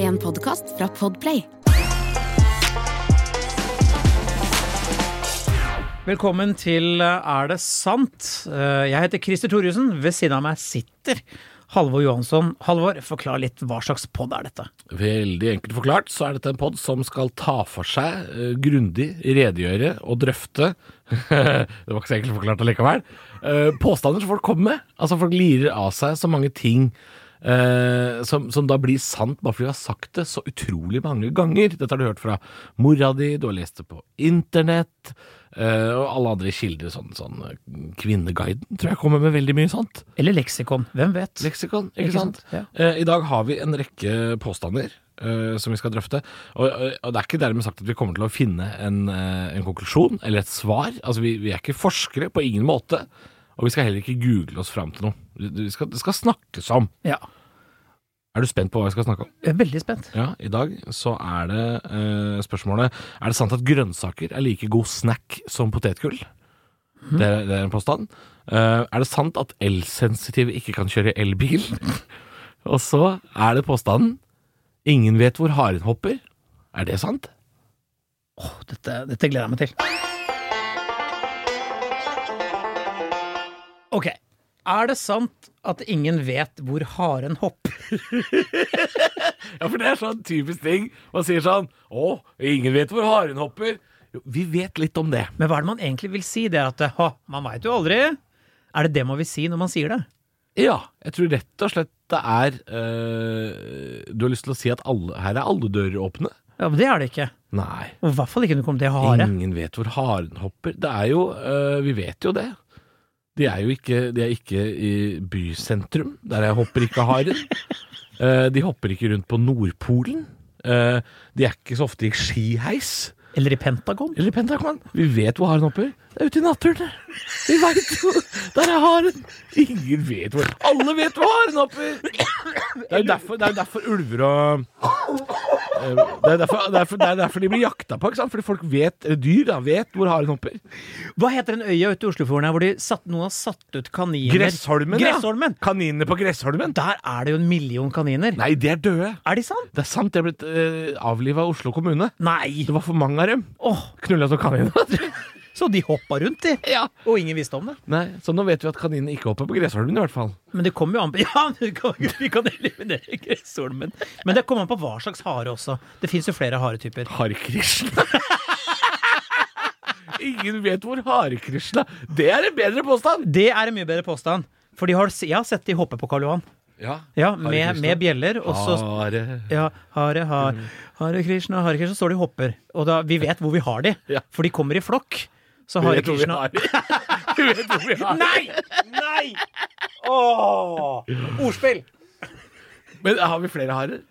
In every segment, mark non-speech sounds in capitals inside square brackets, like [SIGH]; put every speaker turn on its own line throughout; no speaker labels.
en podkast fra Podplay.
Velkommen til eh, Er det sant? Eh, Jeg heter Christer Thoriussen. Ved siden av meg sitter Halvor Johansson. Halvor, forklar litt hva slags pod er dette?
Veldig enkelt forklart så er dette en pod som skal ta for seg, eh, grundig redegjøre og drøfte [LAUGHS] Det var ikke så enkelt forklart allikevel. eh, påstander som folk kommer med. Altså Folk lirer av seg så mange ting eh, som, som da blir sant bare fordi du har sagt det så utrolig mange ganger. Dette har du hørt fra mora di, du har lest det på internett eh, og alle andre kilder. Sånn, sånn eh, Kvinneguiden tror jeg kommer med veldig mye sant.
Eller leksikon, hvem vet?
Leksikon, ikke,
Ikke sant?
sant? Eh, I dag har vi en rekke påstander eh, som vi skal drøfte. Og, og, og det er ikke dermed sagt at vi kommer til å finne en, eh, en konklusjon eller et svar. Altså, vi, vi er ikke forskere på ingen måte. Og vi skal heller ikke google oss fram til noe. Vi skal, det skal snakkes om.
Ja,
Er du spent på hva vi skal snakke om?
jeg er veldig spent.
Ja, I dag så er det eh, spørsmålet Er det sant at grønnsaker er like god snack som potetgull. Det, er, det er en påstand. Eh, er det sant at elsensitive ikke kan kjøre elbil? [LAUGHS] Og så er det påstanden Ingen vet hvor haren hopper. Er det sant?
Åh, dette, dette gleder jeg meg til. Ok. Er det sant at ingen vet hvor haren hopper?
Ja, for det er sånn typisk ting. Man sier sånn Å, ingen vet hvor haren hopper. Jo, vi vet litt om det.
Men hva er det man egentlig vil si? Det er at ha, man veit jo aldri. Er det det man vil si når man sier det?
Ja, jeg tror rett og slett det er eh, Du har lyst til å si at alle, her er alle dører åpne?
Ja, men Det er det ikke.
Nei.
Og I hvert fall ikke når det kommer til hare.
Ingen vet hvor haren hopper. Det er jo øh, Vi vet jo det. De er jo ikke, de er ikke i bysentrum. Der er hopper ikke haren. Eh, de hopper ikke rundt på Nordpolen. Eh, de er ikke så ofte i skiheis.
Eller i Pentagon.
Eller Pentagon. Vi vet hvor haren hopper. Det er ute i naturen, det. Vi veit jo. Der er haren. Ingen vet hvor Alle vet hvor haren hopper! Det er jo derfor, det er jo derfor ulver og Eh, det er derfor, derfor, det er derfor de blir jakta på, ikke sant? fordi folk vet, eller dyr da, vet hvor haren hopper.
Hva heter den øya ute i Oslofjorden her hvor de satt, noen har satt ut kaniner?
Gressholmen, ja.
Gressholmen.
Kaninene på Gressholmen?
Der er det jo en million kaniner.
Nei, de er døde.
Er de sann?
Det er sant, de er blitt uh, avliva av Oslo kommune.
Nei!
Det var for mange av dem.
Åh,
Knulla som kaniner.
så de hoppa rundt, de.
[LAUGHS] ja.
Og ingen visste om det.
Nei, så nå vet vi at kaninene ikke hopper på Gressholmen, i hvert fall.
Men det kommer jo an på [LAUGHS] Ja, men vi kan, vi kan eliminere gressholmen. Men det kommer an på hva slags hare også. Det fins jo flere haretyper.
Hare Krishna. Ingen vet hvor Hare Krishna Det er en bedre påstand!
Det er en mye bedre påstand. For de har, jeg har sett de hoppe på Karl Johan.
Ja,
Ja, med, med bjeller. Og så
Hare
Ja, hare, hare,
Mhm.
hare Krishna, hare Krishna, står de og hopper. Og da, vi vet hvor vi har de,
Ja.
for de kommer i flokk. Så
Vi
hare
vet hvor vi
Krishna
har [LAUGHS] Vi vet hvor vi har
Nei! Nei! Åh! Ordspill!
Men har vi flere harer?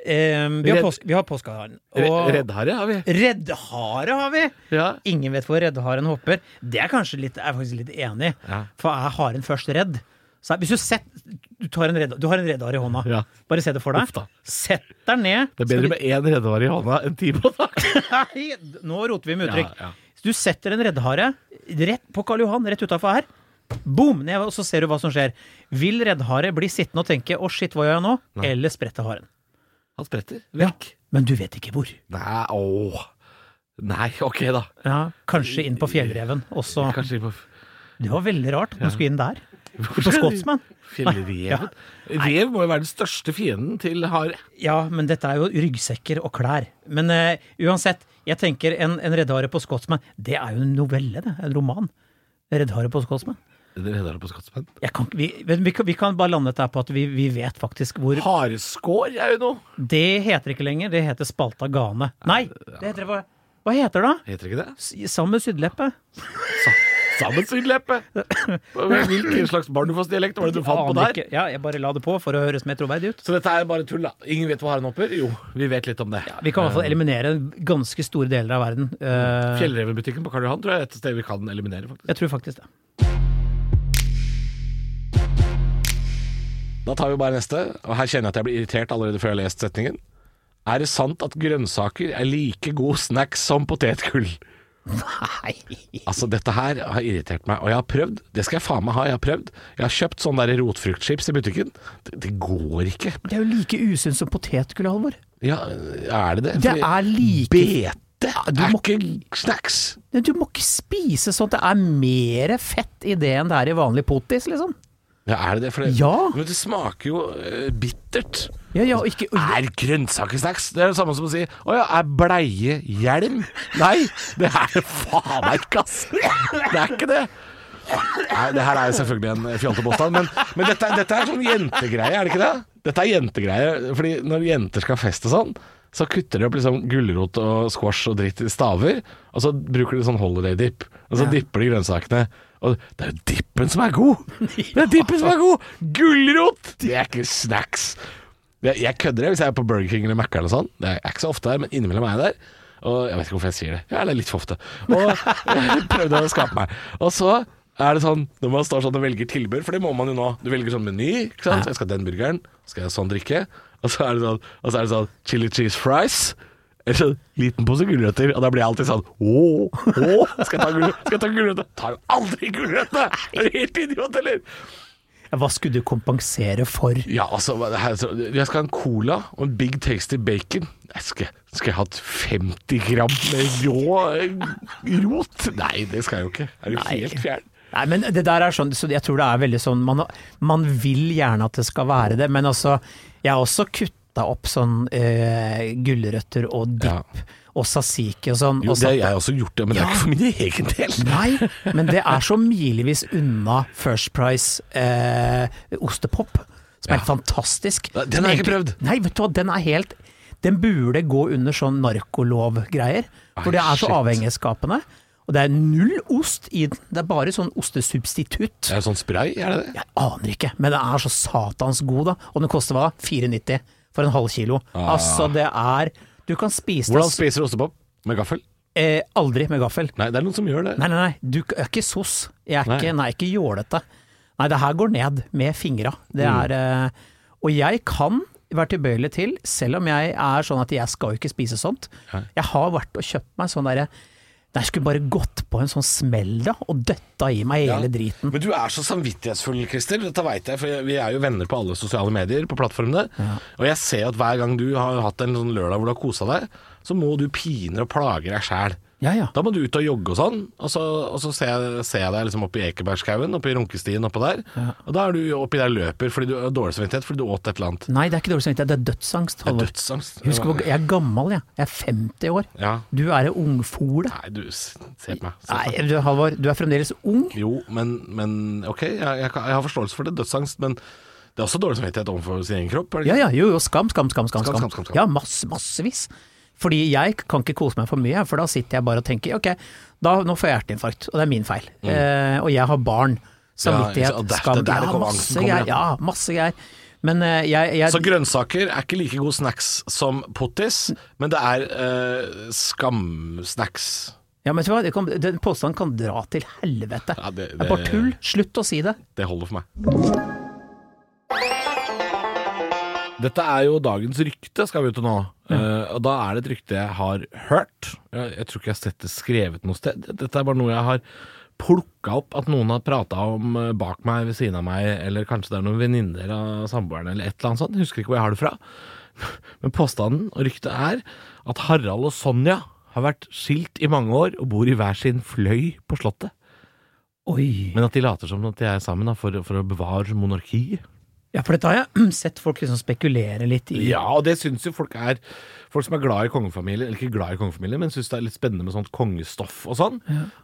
Eh, vi, har
Redd-
påsk, vi har påskeharen. Og
Reddhare har vi.
reddhare har vi!
Ja.
Ingen vet hvor reddharen hopper. Det er kanskje litt, jeg er faktisk litt enig i.
Ja.
For er haren først redd så er, Hvis du, sett, du, tar en redd, du har en reddhare i hånda.
Ja.
Bare se det for
Uff da.
deg. Sett deg ned.
Det er bedre
Skal
med én reddhare i hånda enn ti på taket.
du, Nei, nå roter vi med uttrykk.
Ja, ja.
Så Du setter en reddhare rett på Karl Johan, rett utafor her. Boom! Ned, og så ser du hva som skjer. Vil reddhare bli sittende og tenke 'å, shit, hva gjør jeg nå?' eller sprette haren?
Han spretter vekk.
Men du vet ikke hvor.
Nei, åh. Nei, ok da.
Ja, Kanskje inn på fjellreven også.
Kanskje på
Det var veldig rart at du skulle inn der. På Scotsman.
[LAUGHS] Fjellreven. Rev må jo være den største fienden til hare.
Ja, men dette er jo ryggsekker og klær. Men eh, uansett, jeg tenker en, en reddhare på Scotsman, det er jo en novelle, det. En roman. Reddhare på Scotsman.
Reddhare på Scotsman.
Jeg kan, ikke- vi, men vi, kan, vi kan bare lande dette her på at vi, vi vet faktisk hvor
Hareskår er jo noe.
Det heter ikke lenger, det heter spalta gane. Nei, det heter hva, hva heter det da?
Heter ikke det?
S- Sammen med sydleppe?
Sa Sammensyndleppe. Hvilken slags barnefossdialekt var det du fant på
Aner
der?
ikke. Ja, jeg bare la det på for å høres mer troverdig ut.
Så dette er bare tull, da. Ingen vet hvor haren hopper? Jo, vi vet litt om det.
Vi kan i hvert fall eliminere ganske store deler av verden. Eh,
Fjellrevenbutikken på Karl Johan tror jeg er et sted vi kan eliminere, faktisk.
jeg tror faktisk det.
Da tar vi bare neste, og her kjenner jeg at jeg blir irritert allerede før jeg har lest setningen. Er det sant at grønnsaker er like god snack som potetgull?
Nei.
Altså, dette her har irritert meg, og jeg har prøvd. Det skal jeg faen meg ha, jeg har prøvd. Jeg har kjøpt sånne der rotfruktchips i butikken. Det, det går ikke.
Det er jo like usunt som potetgull, Halvor.
Ja, er det det?
Det
Fordi
er like
Bete
du
er
må-
ikke snacks.
Men Du må ikke spise sånt. Det er mer fett i det enn det er i vanlig potis, liksom.
Ja, er det det? For det,
Ja.
Men det smaker jo eh, bittert.
Ja, ja, og ikke,
Er grønnsaker snacks? Det er det samme som å si Å ja, er bleie hjelm? Nei, det er det faen meg ikke, ass! Det er ikke det. Nei, det her er jo selvfølgelig en fjontepåstand, men, men dette, er- dette er sånn jentegreie, er det ikke det? Dette er jentegreie, fordi når jenter skal feste sånn, så kutter de opp liksom gulrot og squash og dritt i staver, og så bruker de sånn holiday dip, og så dipper de grønnsakene. Og det er jo dippen som er god! Det er dippen som er god! Gulrot! Det er ikke snacks. Jeg, jeg kødder det hvis jeg er på Burger King eller Mac'er eller sånn. Det er ikke så ofte her, men innimellom er jeg der. Og jeg vet ikke hvorfor jeg sier det. Ja, det er litt for ofte. Og jeg prøvde å skape meg. Og så er det sånn, når man står sånn og velger tilbud, for det må man jo nå. Du velger sånn meny, ikke sant. Jeg skal ha den burgeren, skal jeg ha sånn drikke. Og så er det sånn, og så er det sånn chili cheese fries. Eller sånn liten pose gulrøtter. Og da blir jeg alltid sånn Åh, åh, skal jeg ta gulrøtter? Skal jeg ta gulrøtter? Tar jo aldri gulrøtter! Er du helt idiot, eller?
hva skulle du kompensere for?
Ja, altså hva- her, så- Jeg skal ha en cola og en Big Tasty Bacon. Jeg skal, skal jeg ha et 50 gram med rå eh, rot? Nei, det skal jeg jo ikke. Er du
Nei.
helt fjern?
Nei, men det der er sånn, så jeg tror det er veldig sånn man, man vil gjerne at det skal være det, men altså Jeg har også kutta opp sånn eh, gulrøtter og dipp og sasiki og sånn.
Jo,
og
det har
satt-
jeg også gjort, det, men det er ikke for min egen del.
Nei, men det er så milevis unna First Price eh, ostepop, som er helt fantastisk.
Nei, den har jeg ikke
Som egentlig-
prøvd.
Nei, vet du hva, den er helt Den burde gå under sånn narkolovgreier, for
Ai,
det er så
shit.
avhengighetsskapende. Og det er null ost i den, det er bare sånn ostesubstitutt.
Det er jo sånn spray, er det det?
Jeg aner ikke, men den er så satans god, da. Og den koster hva? 4,90 for en halv kilo. Altså, det er Du kan spise
Ah. Hvordan
det
spiser du ostepop? Med gaffel?
eh, aldri med gaffel.
Nei, det er noen som gjør det.
Nei, nei, nei, du er ikke sos. Jeg er
Nei.
ikke, nei, ikke jålete. Nei, det her går ned med fingra. Det
Mm.
er eh, Og jeg kan være tilbøyelig til, selv om jeg er sånn at jeg skal jo ikke spise sånt
Nei.
Jeg har vært og kjøpt meg sånn derre Nei, jeg skulle bare gått på en sånn smell da, og døtta i meg
Ja.
hele driten.
Men du er så samvittighetsfull, Christer. Dette veit jeg, for jeg- vi er jo venner på alle sosiale medier, på plattformene. Og jeg ser at hver gang du har hatt en sånn lørdag hvor du har kosa deg, så må du piner og plager deg sjæl.
Ja, ja.
Da må du ut og jogge og sånn, og så, og så ser, jeg, ser jeg deg liksom oppe i Ekebergskauen, oppe i Runkestien oppå der. Og da er du oppi der løper fordi du har dårlig samvittighet fordi du åt et eller annet.
Nei, det er ikke dårlig samvittighet, det er dødsangst.
Det er
Halvor.
dødsangst.
Husk, hvor- jeg er gammel, jeg. Jeg er 50 år.
Ja.
Du er ei ungfole.
Nei, du, s- se på meg. Se på meg.
Nei, du, Halvor, du er fremdeles ung.
Jo, men, men ok, jeg, jeg, kan- jeg har forståelse for det, dødsangst, men det er også dårlig samvittighet overfor sin egen kropp. er det
Ja,
ikke?
ja, jo, jo, skam, skam, skam. skam,
Skam,
skam,
skam, skam, skam.
Ja, masse, massevis. Fordi jeg kan ikke kose meg for mye, for da sitter jeg bare og tenker ok, da, nå får jeg hjerteinfarkt, og det er min feil. Eh, og jeg har barn.
Mm. Ja,
Samvittighet,
så det er-
skam.
det er der
ja,
kommer angsten
masse
kommer,
greier. Ja,
ja.
masse greier. Men eh, jeg, jeg
Så grønnsaker er ikke like god snacks som pottis, men det er eh, skamsnacks.
ja, men vet du hva, det kan, Den påstanden kan dra til helvete.
Ja, det-
det er bare
det-
tull. Slutt å si det.
Det holder for meg. Dette er jo dagens rykte, skal vi ut og nå. Eh, og da er det et rykte jeg har hørt. Jeg, jeg tror ikke jeg har sett det skrevet noe sted. Dette er bare noe jeg har plukka opp at noen har prata om eh, bak meg, ved siden av meg, eller kanskje det er noen venninner av samboeren eller et eller annet sånt. Jeg Husker ikke hvor jeg har det fra. [LAUGHS] Men påstanden og ryktet er at Harald og Sonja har vært skilt i mange år og bor i hver sin fløy på Slottet.
Oi.
Men at de later som at de er sammen da, for, for å bevare monarkiet.
Ja, for dette har jeg [CLEARS THROAT] sett folk liksom spekulere litt i.
Ja, og det syns jo folk er Folk som er glad i kongefamilien, eller ikke glad i kongefamilien, men syns det er litt spennende med sånt kongestoff og sånn,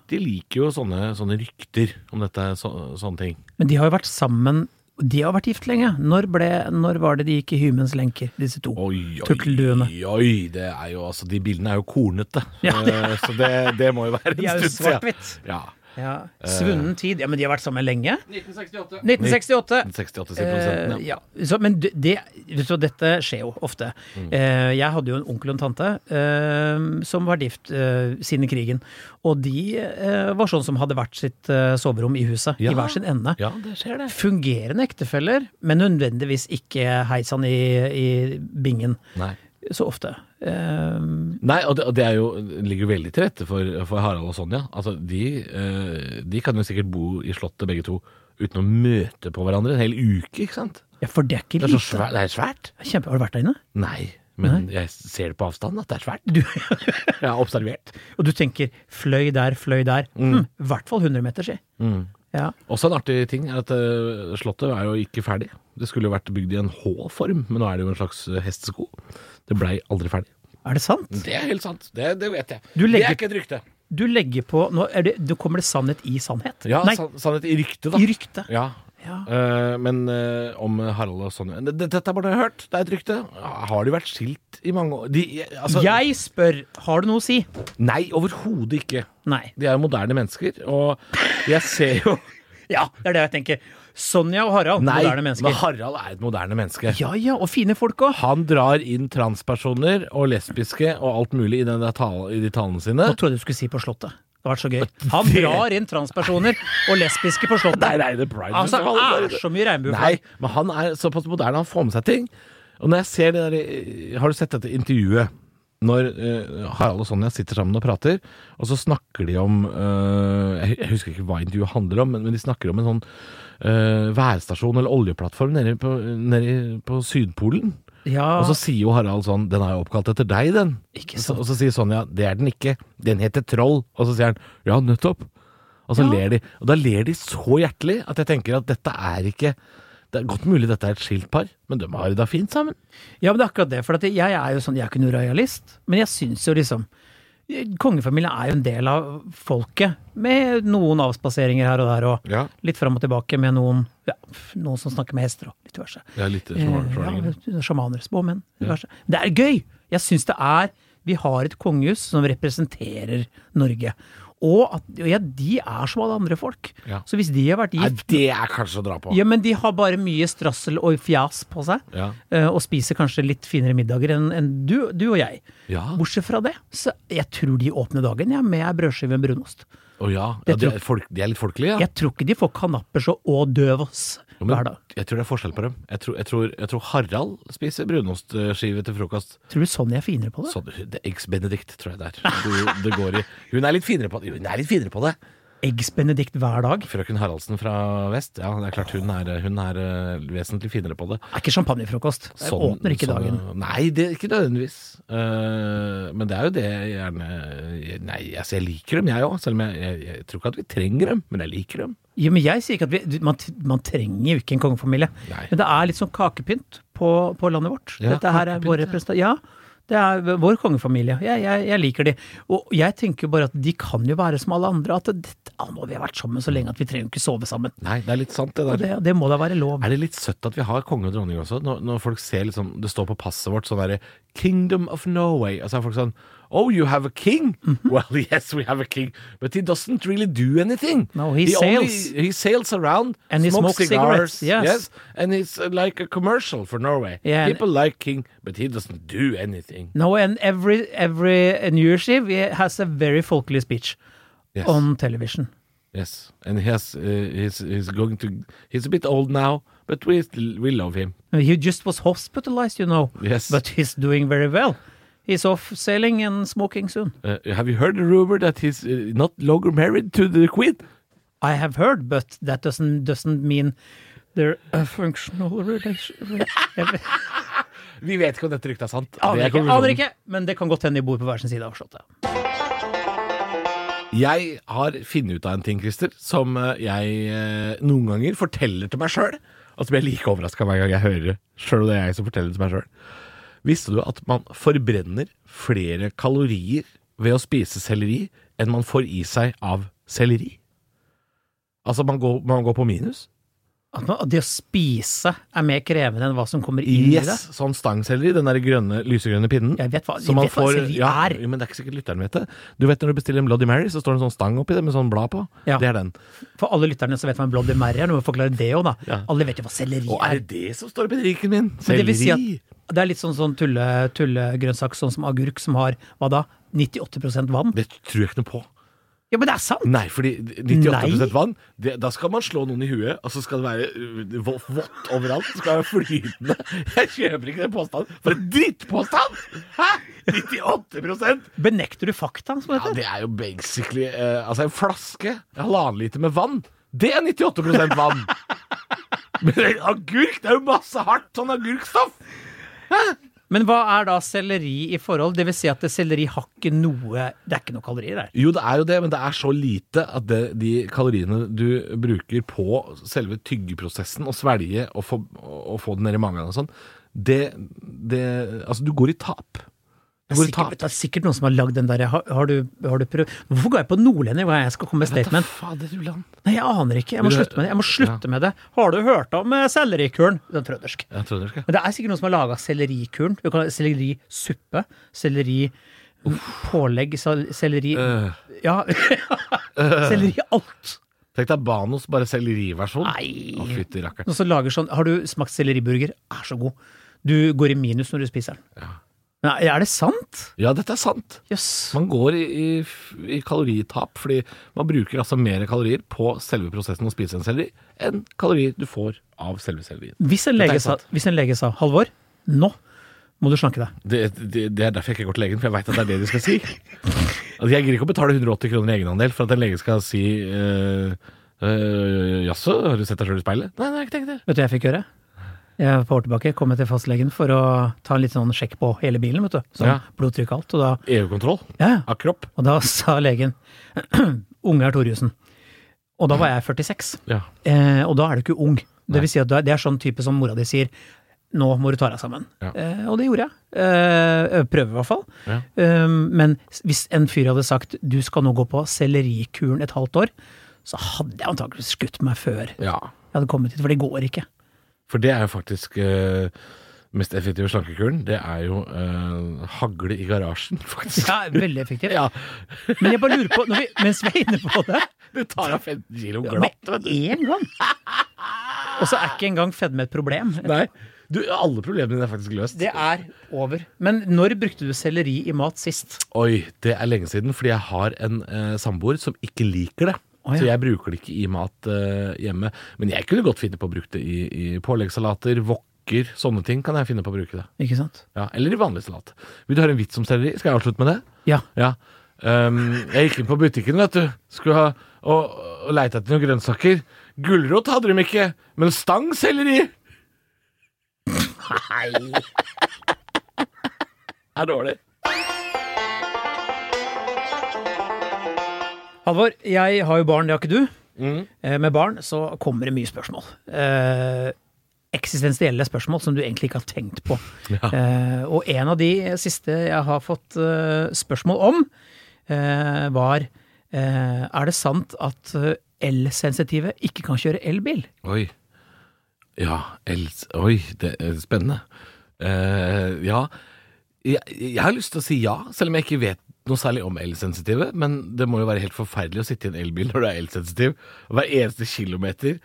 de liker jo sånne, sånne rykter om dette, så, sånne ting.
Men de har jo vært sammen De har vært gift lenge. Når, ble, når var det de gikk i Hymens lenker, disse to?
Oi,
Tukkelduene.
oi, oi, det er jo altså De bildene er jo kornete,
Ja,
Eh, [LAUGHS] så det, det må jo være
De
en
er jo
stund siden.
svart-hvitt.
Ja.
Ja. Svunnen tid. Ja, men de har vært sammen lenge?
1968.
1968.
68
Eh, ja. Så, men det, det, vet du hva, dette skjer jo ofte.
Mm.
Eh, jeg hadde jo en onkel og en tante eh, som var gift eh, siden krigen. Og de eh, var sånn som hadde hvert sitt eh, soverom i huset, i
Ja.
hver sin ende.
ja, det skjer det.
Fungerende ektefeller, men nødvendigvis ikke hei sann i, i bingen
Nei.
så ofte. Eh,
Nei, og det, og det er jo, det ligger jo veldig til rette for, for Harald og Sonja. Altså, de, eh, de kan jo sikkert bo i Slottet begge to uten å møte på hverandre en hel uke, ikke sant?
ja, for det er ikke
Det er så
lite.
svært. Det er svært.
Kjempe, har du vært der inne?
Nei. men jeg ser det på avstand at det er svært. [LAUGHS]
Du,
Jeg har observert.
og du tenker fløy der, fløy der. Hm, I hvert fall 100 meter, si. Ja.
Også en artig ting er at eh, Slottet er jo ikke ferdig. Det skulle jo vært bygd i en H-form, men nå er det jo en slags eh, hestesko. Det blei aldri ferdig.
Er det sant?
Det er helt sant. Det, det vet jeg.
Du
Det
legger-
er ikke et rykte.
Du legger på Nå, er det, nå kommer det sannhet i sannhet.
Ja,
Nei,
sann- sannhet i ryktet, da.
i rykte.
Ja.
Ja.
Eh, men eh, om Harald og Sonja D- Dette er bare det jeg har hørt. Det er et rykte. Ah, Har de vært skilt i mange år? De, altså,
Jeg spør, har du noe å si?
Nei, overhodet ikke.
Nei.
De er jo moderne mennesker, og jeg ser jo
Ja, det er det jeg tenker. Sonja og Harald,
Nei,
[LAUGHS] moderne
men
mennesker.
Harald er et moderne menneske.
Ja ja, og fine folk òg.
Han drar inn transpersoner og lesbiske og alt mulig i, den der tale, i de talene sine.
Nå trodde jeg du skulle si på Slottet. Det har vært så gøy. Han drar inn transpersoner og lesbiske på Slottet.
[LAUGHS] nei, det er Pride
Altså,
Festival.
det er så mye
Nei,
regnbueflagg.
men han er såpass moderne, han får med seg ting. Og når jeg ser det der eh, Har du sett dette intervjuet? Når eh, Harald og Sonja sitter sammen og prater, og så snakker de om eh, Jeg jeg husker ikke hva intervjuet handler om, men, men de snakker om en sånn eh, værstasjon eller oljeplattform nede på, nede på Sydpolen.
Ja,
Og så sier jo Harald sånn 'Den er jo oppkalt etter deg, den'.
Ah. ikke
Og så-
sant.
Og så sier Sonja 'Det er den ikke. Den heter Troll'. Og så sier han 'Ja, nettopp'. Og så
Ja.
ler de. Og da ler de så hjertelig at jeg tenker at dette er ikke Det er godt mulig dette er et skilt par, men de har det da fint sammen.
Ja, men det er akkurat det. For at jeg er jo sånn, jeg er ikke noe royalist, men jeg syns jo liksom Kongefamilien er jo en del av folket, med noen avspaseringer her og der, og
Ja.
litt fram og tilbake med noen, ja, noen som snakker med hester og litt diverse.
Det er litt
Eh, ja, sjamaner, småmenn, diverse. Det er gøy! Jeg syns det er Vi har et kongehus som representerer Norge. Og at og ja, de er som alle andre folk.
Ja.
Så hvis de har vært
Nei,
gift
det er kanskje å dra på.
Ja, men de har bare mye strassel og fjas på seg.
Ja.
eh, Og spiser kanskje litt finere middager enn enn du, du og jeg.
Ja.
Bortsett fra det, så jeg tror de åpner dagen ja, med ei brødskive med brunost.
Å ja. ja
Det
de,
tror-
er folk, de er litt folkelige, ja.
Jeg tror ikke de får kanappers og å døv oss
Jo, men
hver dag.
jeg tror det er forskjell på dem. Jeg tror, jeg tror, jeg tror Harald spiser brunostskive til frokost.
Tror du sånn jeg er finere på det?
Så det er Eggs Benedict, tror jeg det er. Det, det går i. Hun er litt finere på det. Hun er litt finere på det.
Eggs benedict hver dag?
Frøken Haraldsen fra vest, ja, det er klart hun er, hun er eh, vesentlig finere på det.
Det er ikke champagnefrokost. Det
Sånn-
åpner ikke
sånn-
dagen.
Nei, det, ikke nødvendigvis. Eh, men det er jo det jeg gjerne Nei, altså jeg liker dem, jeg òg. Selv om jeg, jeg, jeg tror ikke at vi trenger dem, men jeg liker dem.
Ja, men jeg sier ikke at vi, man, man trenger jo ikke en kongefamilie.
Nei.
Men det er litt sånn kakepynt på, på landet vårt.
Ja,
Dette her er vår representant. Ja, det er vår kongefamilie. Jeg, jeg, jeg liker de. Og jeg tenker jo bare at de kan jo være som alle andre. At det, ah, nå har vi vært sammen så lenge at vi trenger jo ikke sove sammen.
Nei, det er litt sant, det
Og
der.
det, det må da være lov.
Er det litt søtt at vi har konge og dronning også? Når, når folk ser liksom Det står på passet vårt sånn derre 'Kingdom of Norway'. Og så er folk sånn Oh, you have a king?
Mhm.
Well, [LAUGHS] yes, we have a king, but he doesn't really do anything.
No, he
only-
sails.
he sails around,
And he smokes cigarettes, yes.
and it's uh, like a commercial for Norway.
Yeah, and-
People like king, but he doesn't do anything.
No, and every, every New Year's Eve has a very folkelig speech
Yes,
on television.
yes, and he has, uh, he's, he's going to. He's a bit old now, but we still- we love him.
He just was hospitalized, you know.
Yes.
But he's doing very well. He's off sailing and smoking soon.
Uh, have you heard the rumor that he's uh, not longer married to the queen?
I have heard, but that doesn't doesn't mean they're a functional relation. Jeg
Vi vet ikke om dette ryktet er sant. Det
Aner
er
ikke,
konklusjonen.
aner ikke, men det kan godt hende de bor på hver sin side av slottet.
Jeg har funnet ut av en ting, Christer, som eh, jeg eh, noen ganger forteller til meg sjøl, og som jeg er like overraska hver gang jeg hører det, sjøl om det er jeg som forteller det til meg sjøl. Visste du at man forbrenner flere kalorier ved å spise selleri enn man får i seg av selleri? Altså, man går, man går på minus.
At man, at det å spise er mer krevende enn hva som kommer inn i det.
Yes, sånn stangselleri, den der grønne, lysegrønne pinnen.
Jeg vet hva,
Så
jeg
man
vet hva
får-
selleri
ja,
er.
jo, Men det er ikke sikkert lytteren vet det. Du vet når du bestiller en Bloody Mary, så står det en sånn stang oppi det med sånn blad på.
Ja.
Det er den.
For alle lytterne som vet hva en Bloody Mary er, nå må vi forklare det òg, da.
Ja.
Alle vet jo hva selleri
Og er
er.
det det som står i bedriken min?
Men
Selleri?
det vil si at det er litt sånn, sånn tulle, tullegrønnsak, sånn som agurk, som har hva da? 98 vann?
Det tror jeg ikke noe på.
Ja, men det er sant!
Nei, fordi 98
Nei.
vann, det, da skal man slå noen i huet, og så skal det være uh, vå- vått overalt. Det skal være flytende. Jeg kjøper ikke den påstanden. For en drittpåstand! Hæ? 98
Benekter du fakta, som det
Ja,
heter?
det er jo basically eh, Altså, en flaske, halvannen liter med vann, det er 98 vann. [LAUGHS] Men en agurk, det er jo masse hardt sånn agurkstoff.
Men hva er da selleri i forhold? Det vil si at det- selleri har ikke noe Det er ikke noe kalorier der.
Jo, det er jo det, men det er så lite at det, de kaloriene du bruker på selve tyggeprosessen, å svelge og få, og få den ned i magen og sånn, det, det Altså, du går i tap.
Det er,
Du går i
sikkert,
tap.
det er sikkert noen som har lagd den der har, har, du, har du prøvd Hvorfor går jeg på nordlending hva jeg skal komme med
Dette
statement?
fader, du land.
Nei, jeg aner ikke. Jeg må
Vil du-
slutte med det. Jeg må slutte med det. Har du hørt om eh, sellerikuren? Den er trøndersk.
Jeg trodde det skulle.
Men det er sikkert noen som har laga sellerikuren. Du kan ha sellerisuppe, selleri mm, pålegg, sel- selleri
Øh,
Ja. [LAUGHS] selleri alt.
tenk deg Banos, bare selleriversjon. Å,
Nei.
fytti rakkeren.
Noen som lager sånn Har du smakt selleriburger? Er så god. Du går i minus når du spiser den. Nei, er det sant?
Ja, dette er sant.
Jøss.
Man går i, i, i kaloritap fordi man bruker altså mer kalorier på selve prosessen å spise en selleri enn kalorier du får av selve sellerien.
Hvis, en
Dette er
lege sa-
sant.
hvis en lege sa Halvor, nå må du slanke deg.
Det, det, det er derfor jeg ikke går til legen, for jeg veit at det er det de skal si. Altså, jeg gidder ikke å betale 180 kroner i egenandel for at en lege skal si øh, øh, Jaså, har du sett deg sjøl i speilet? Nei, nei, jeg har ikke tenkt det.
Vet du hva jeg fikk gjøre? Jeg var på år tilbake kom jeg til fastlegen for å ta en litt sånn sjekk på hele bilen. vet du. Sånn
Ja.
blodtrykk og alt. Og da,
EU-kontroll
ja, ja.
E av kropp.
Og da sa legen [CLEARS THROAT] Unge er Thoriussen. Og da var jeg 46.
Ja.
Eh, og da er du ikke ung. Det vil si at du er, det er sånn type som mora di sier nå må du ta deg sammen.
Ja.
Eh, og det gjorde jeg. Eh, prøve, i hvert fall.
Ja.
Eh, men s- hvis en fyr hadde sagt du skal nå gå på sellerikuren et halvt år, så hadde jeg antakeligvis skutt meg før jeg
ja.
hadde kommet hit, for det går ikke.
For det er jo faktisk eh, mest effektive slankekuren. Det er jo eh, hagle i garasjen, faktisk.
Ja, veldig effektivt.
[LAUGHS] Ja,
Men jeg bare lurer på, når vi, mens vi er inne på
[LAUGHS]
det
Du tar av 15 kilo glatt.
Med én gang! Og så er ikke engang fedme et problem.
Nei, du, alle problemene dine er faktisk løst.
Det er over. Men når brukte du selleri i mat sist?
Oi, det er lenge siden, fordi jeg har en eh, samboer som ikke liker det.
Å, ja.
Så jeg bruker det ikke i mat eh, hjemme. Men jeg kunne godt finne på å bruke det i, i påleggssalater, wokker, sånne ting kan jeg finne på å bruke det.
Ikke sant?
Ja, eller i vanlig salat. Vil du høre en vits om selleri? Skal jeg avslutte med det?
Ja.
Ja. Ehm, jeg gikk inn på butikken, vet du. Skulle ha og, og leite etter noen grønnsaker. Gulrot hadde de ikke, men stang selleri! Nei [LAUGHS] Er dårlig.
Halvor, jeg har jo barn, det har ikke du.
Mm.
Eh, Med barn så kommer det mye spørsmål. Eh, eksistensielle spørsmål som du egentlig ikke har tenkt på. Eh, og en av de siste jeg har fått eh, spørsmål om, eh, var eh, Er det sant at eh, elsensitive ikke kan kjøre elbil?
Oi. Ja, els... Oi, det er spennende. Eh, ja. Jeg, jeg har lyst til å si ja, selv om jeg ikke vet noe særlig om elsensitive. Men det må jo være helt forferdelig å sitte i en elbil når du er elsensitiv. Og hver eneste kilometer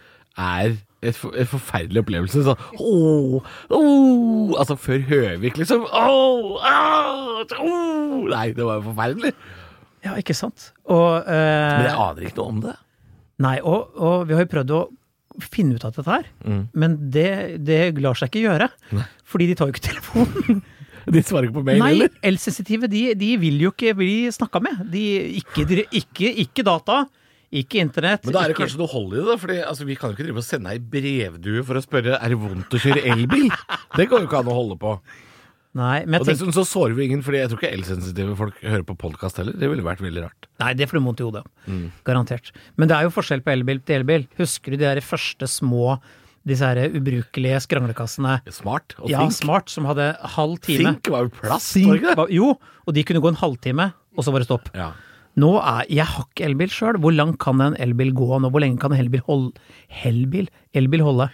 er et, for, en forferdelig opplevelse. Sånn åh, åh, Altså før Høvik, liksom. Åh, åh, åh. Nei, det var jo forferdelig.
Ja, ikke sant? Og, eh,
Men jeg aner ikke noe om det.
Nei, og, og vi har jo prøvd å finne ut av dette her,
Mm.
men det, det lar seg ikke gjøre. Fordi de tar jo ikke telefonen.
De svarer ikke på mail,
Nei,
eller?
elsensitive de, de vil jo ikke bli snakka med. De, ikke, dri- ikke, ikke data, ikke internett.
Men da er det
ikke-
kanskje noe hold i det, da. Fordi altså, vi kan jo ikke drive og sende ei brevdue for å spørre er det vondt å kjøre
[LAUGHS]
elbil. Det går jo ikke an å holde på.
Nei, men
Og
jeg tenker,
dessuten så sårer vi ingen, fordi jeg tror ikke elsensitive folk hører på podkast heller. Det ville vært veldig rart.
nei det får du vondt i hodet av.
Mm.
Garantert. Men det er jo forskjell på elbil til elbil. Husker du de der første små, disse her ubrukelige skranglekassene?
Smart og
Ja,
flink.
smart, som hadde halv time.
Think var jo plast,
Think
var det ikke det?
var- Jo, og de kunne gå en halvtime, og så var det stopp.
Ja.
Nå er, Jeg har ikke elbil sjøl. Hvor langt kan en elbil gå nå? Hvor lenge kan en elbil holde? Helbil? Elbil holde?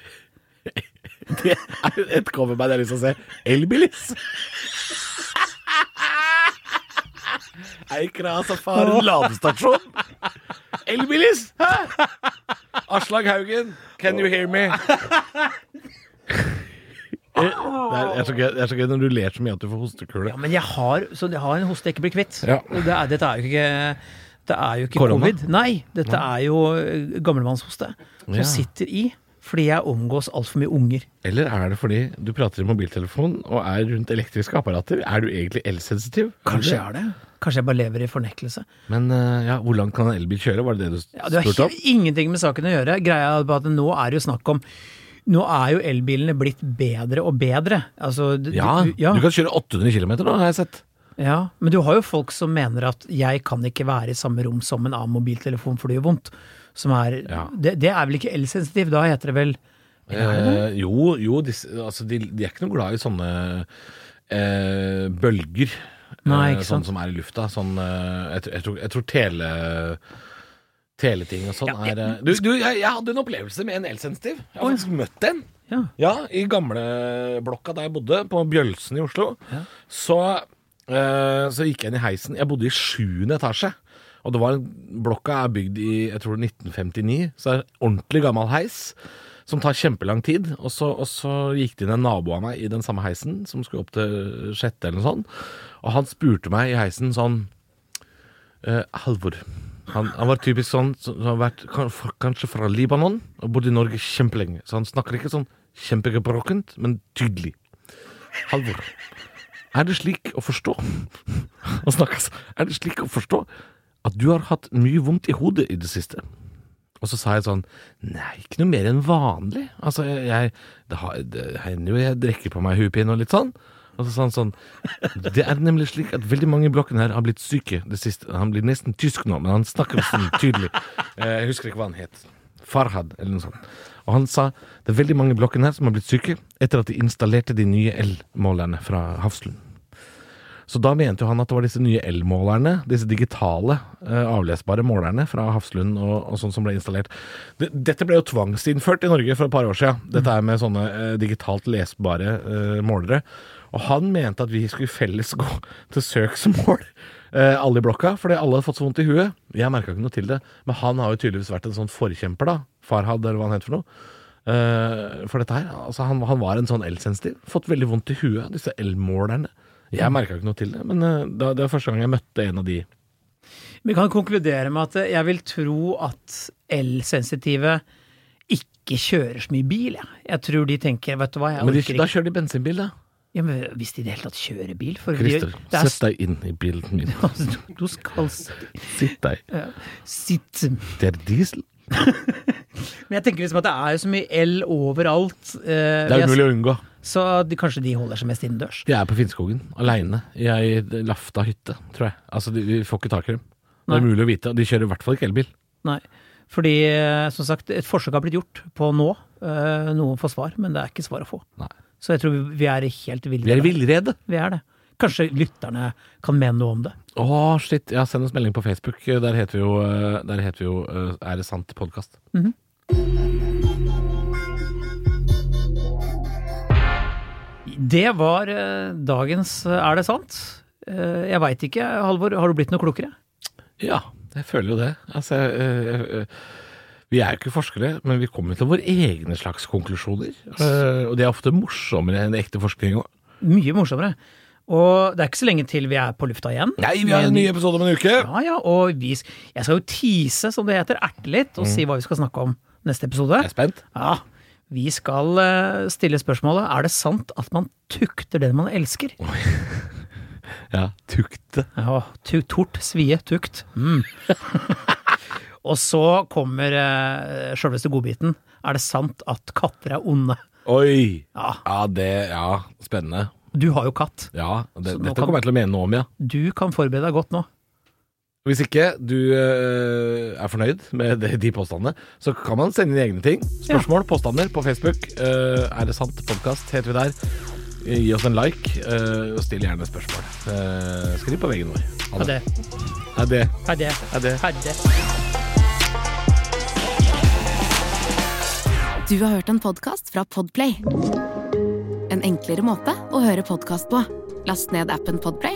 Det er et coverband jeg har lyst til å se. Elbilis. Eikra Safari altså ladestasjon. Elbilis! Hæ? Aslag Haugen, can you hear me? Eh, Det er, det er så gøy, det er så gøy når du ler så mye at du får hostekule.
Ja, men jeg har, så jeg har en hoste jeg ikke blir kvitt.
Ja.
Det er, dette er jo ikke det er jo ikke
Korona?
covid. Nei, dette er jo eh, gammelmannshoste som
Ja.
sitter i fordi jeg omgås altfor mye unger.
Eller er det fordi du prater i mobiltelefon og er rundt elektriske apparater? Er du egentlig elsensitiv?
Kanskje jeg er det. Kanskje jeg bare lever i fornektelse.
Men eh, ja, hvor langt kan en elbil kjøre? Var det det du
Ja, det
spurte
har
om?
he- ingenting med saken å gjøre. Greia er bare at nå er det jo snakk om Nå er jo elbilene blitt bedre og bedre. Altså, du,
Ja,
du, ja,
du kan kjøre 800 km nå, har jeg sett.
ja, men du har jo folk som mener at jeg kan ikke være i samme rom som en annen mobiltelefon, for det gjør vondt. Som er,
Ja.
det, det er vel ikke elsensitiv, da heter det vel
Eh, jo, jo disse, altså, de, de er ikke noe glad i sånne eh, bølger.
Nei, ikke
eh,
sant.
Sånn som er i lufta. Sånn, eh, jeg, tror- jeg, tror, jeg tror tele... Teleting og sånn
Ja, jeg-
er eh, Du, du jeg, jeg hadde en opplevelse med en elsensitiv. Jeg har faktisk møtt en.
Ja.
Ja, i gamleblokka der jeg bodde, på Bjølsen i Oslo, så, eh, så gikk jeg inn i heisen. Jeg bodde i sjuende etasje. Og det var en, blokka er bygd i jeg tror 1959, så det er en ordentlig gammel heis. Som tar kjempelang tid. Og så, og så gikk det inn en nabo av meg i den samme heisen, som skulle opp til sjette eller noe sånt. Og han spurte meg i heisen sånn Eh, Halvor. Han, han var typisk sånn som som har vært kan- fra- kanskje fra Libanon og bodd i Norge kjempelenge. Så han snakker ikke sånn kjempegebrokkent, men tydelig. Halvor, er det slik å forstå [LAUGHS] Han snakker sånn. Er det slik å forstå at du har hatt mye vondt i hodet i det siste? Og så sa jeg sånn Nei, ikke noe mer enn vanlig. Altså, jeg, jeg Det, har, det hender jo jeg drikker på meg hodepine og litt sånn. Og så sa han sånn Det er nemlig slik at veldig mange i blokken her har blitt syke det siste. Han blir nesten tysk nå, men han snakker sånn tydelig. Eh, Jeg husker ikke hva han het. Farhad, eller noe sånt. Og han sa det er veldig mange i blokken her som har blitt syke etter at de installerte de nye elmålerne fra Hafslund. Så da mente jo han at det var disse nye elmålerne, disse digitale, eh, avlesbare målerne fra Hafslund og, og sånn som ble installert. Det- Dette ble jo tvangsinnført i Norge for et par år siden, dette er med sånne eh, digitalt lesbare eh, målere. Og han mente at vi skulle felles gå til søksmål, eh, alle i blokka, fordi alle hadde fått så vondt i huet. Jeg merka ikke noe til det, men han har jo tydeligvis vært en sånn forkjemper, da. Farhad, eller hva han heter for noe. Eh, for dette her, altså han, han var en sånn elsensitiv. Fått veldig vondt i huet, disse elmålerne.
Mm.
Jeg merka ikke noe til det, men eh, da, det var første gang jeg møtte en av de.
Vi kan konkludere med at eh, jeg vil tro at elsensitive ikke kjører så mye bil, jeg. Jeg tror de tenker, vet du hva, jeg
Men de,
orker
da
ikke.
kjører de bensinbil, da.
Ja, men hvis de i det hele tatt kjører bil, for vi-
Christer,
det er
sett deg inn i bilen min.
[LAUGHS] Altså, du skal s-
[LAUGHS] Sitt deg.
sitte
Det er diesel.
Men jeg tenker liksom at det er jo så mye el overalt. eh,
Det er
jeg-
umulig å unngå.
Så de, kanskje de holder seg mest innendørs.
De er på Finnskogen, aleine, i ei lafta hytte, tror jeg. Altså, de, de får ikke tak i dem. Det er
Nei.
mulig å vite. og De kjører i hvert fall ikke elbil.
Nei. Fordi, eh, som sagt, et forsøk har blitt gjort på nå. Eh, Noen får svar, men det er ikke svar å få.
Nei.
Så jeg tror vi- vi er helt ville.
Vi er i villrede!
Vi er det. Kanskje lytterne kan mene noe om det.
Å, shit. Ja, send oss melding på Facebook. Der heter vi jo, eh, der heter vi jo eh, Er det sant? podkast.
Det var eh, dagens eh, Er det sant? Eh, Jeg veit ikke, Halvor. Har du blitt noe klokere?
Ja, jeg føler jo det. Altså, eh, eh, vi er jo ikke forskere, men vi kommer til våre egne slags konklusjoner. Eh, og de er ofte morsommere enn ekte forskning òg.
Mye morsommere. Og det er ikke så lenge til vi er på lufta igjen.
Nei, vi har en ny episode om en uke!
Ja, ja, og vi, jeg skal jo tease, som det heter, erte litt, og si hva vi skal snakke om neste episode.
Mm. Jeg er spent.
Ja, vi skal eh, stille spørsmålet Er det sant at man tukter den man elsker?
Ja, tukte.
Ja, tu, tort, svie, tukt. Mm. [LAUGHS] og så kommer uh, sjølveste godbiten. Er det sant at katter er onde?
Oi!
Ja,
Ja, det Ja, spennende.
du har jo katt.
Ja, det,
Så nå
dette
kan-
kommer jeg til å mene noe om, ja.
Du kan forberede deg godt nå.
Hvis ikke du eh, er fornøyd med de, de påstandene, så kan man sende inn egne ting. Spørsmål, påstander på Facebook. Eh, er det sant? Podkast heter vi der. Eh, Gi oss en like, eh, og still gjerne spørsmål. Eh, skriv på veggen vår. Ha
Ha det.
Ha det.
Ha det.
Ha det.
Ha det.
Du har hørt en podcast fra Podplay En enklere måte å høre podcast på Last ned appen Podplay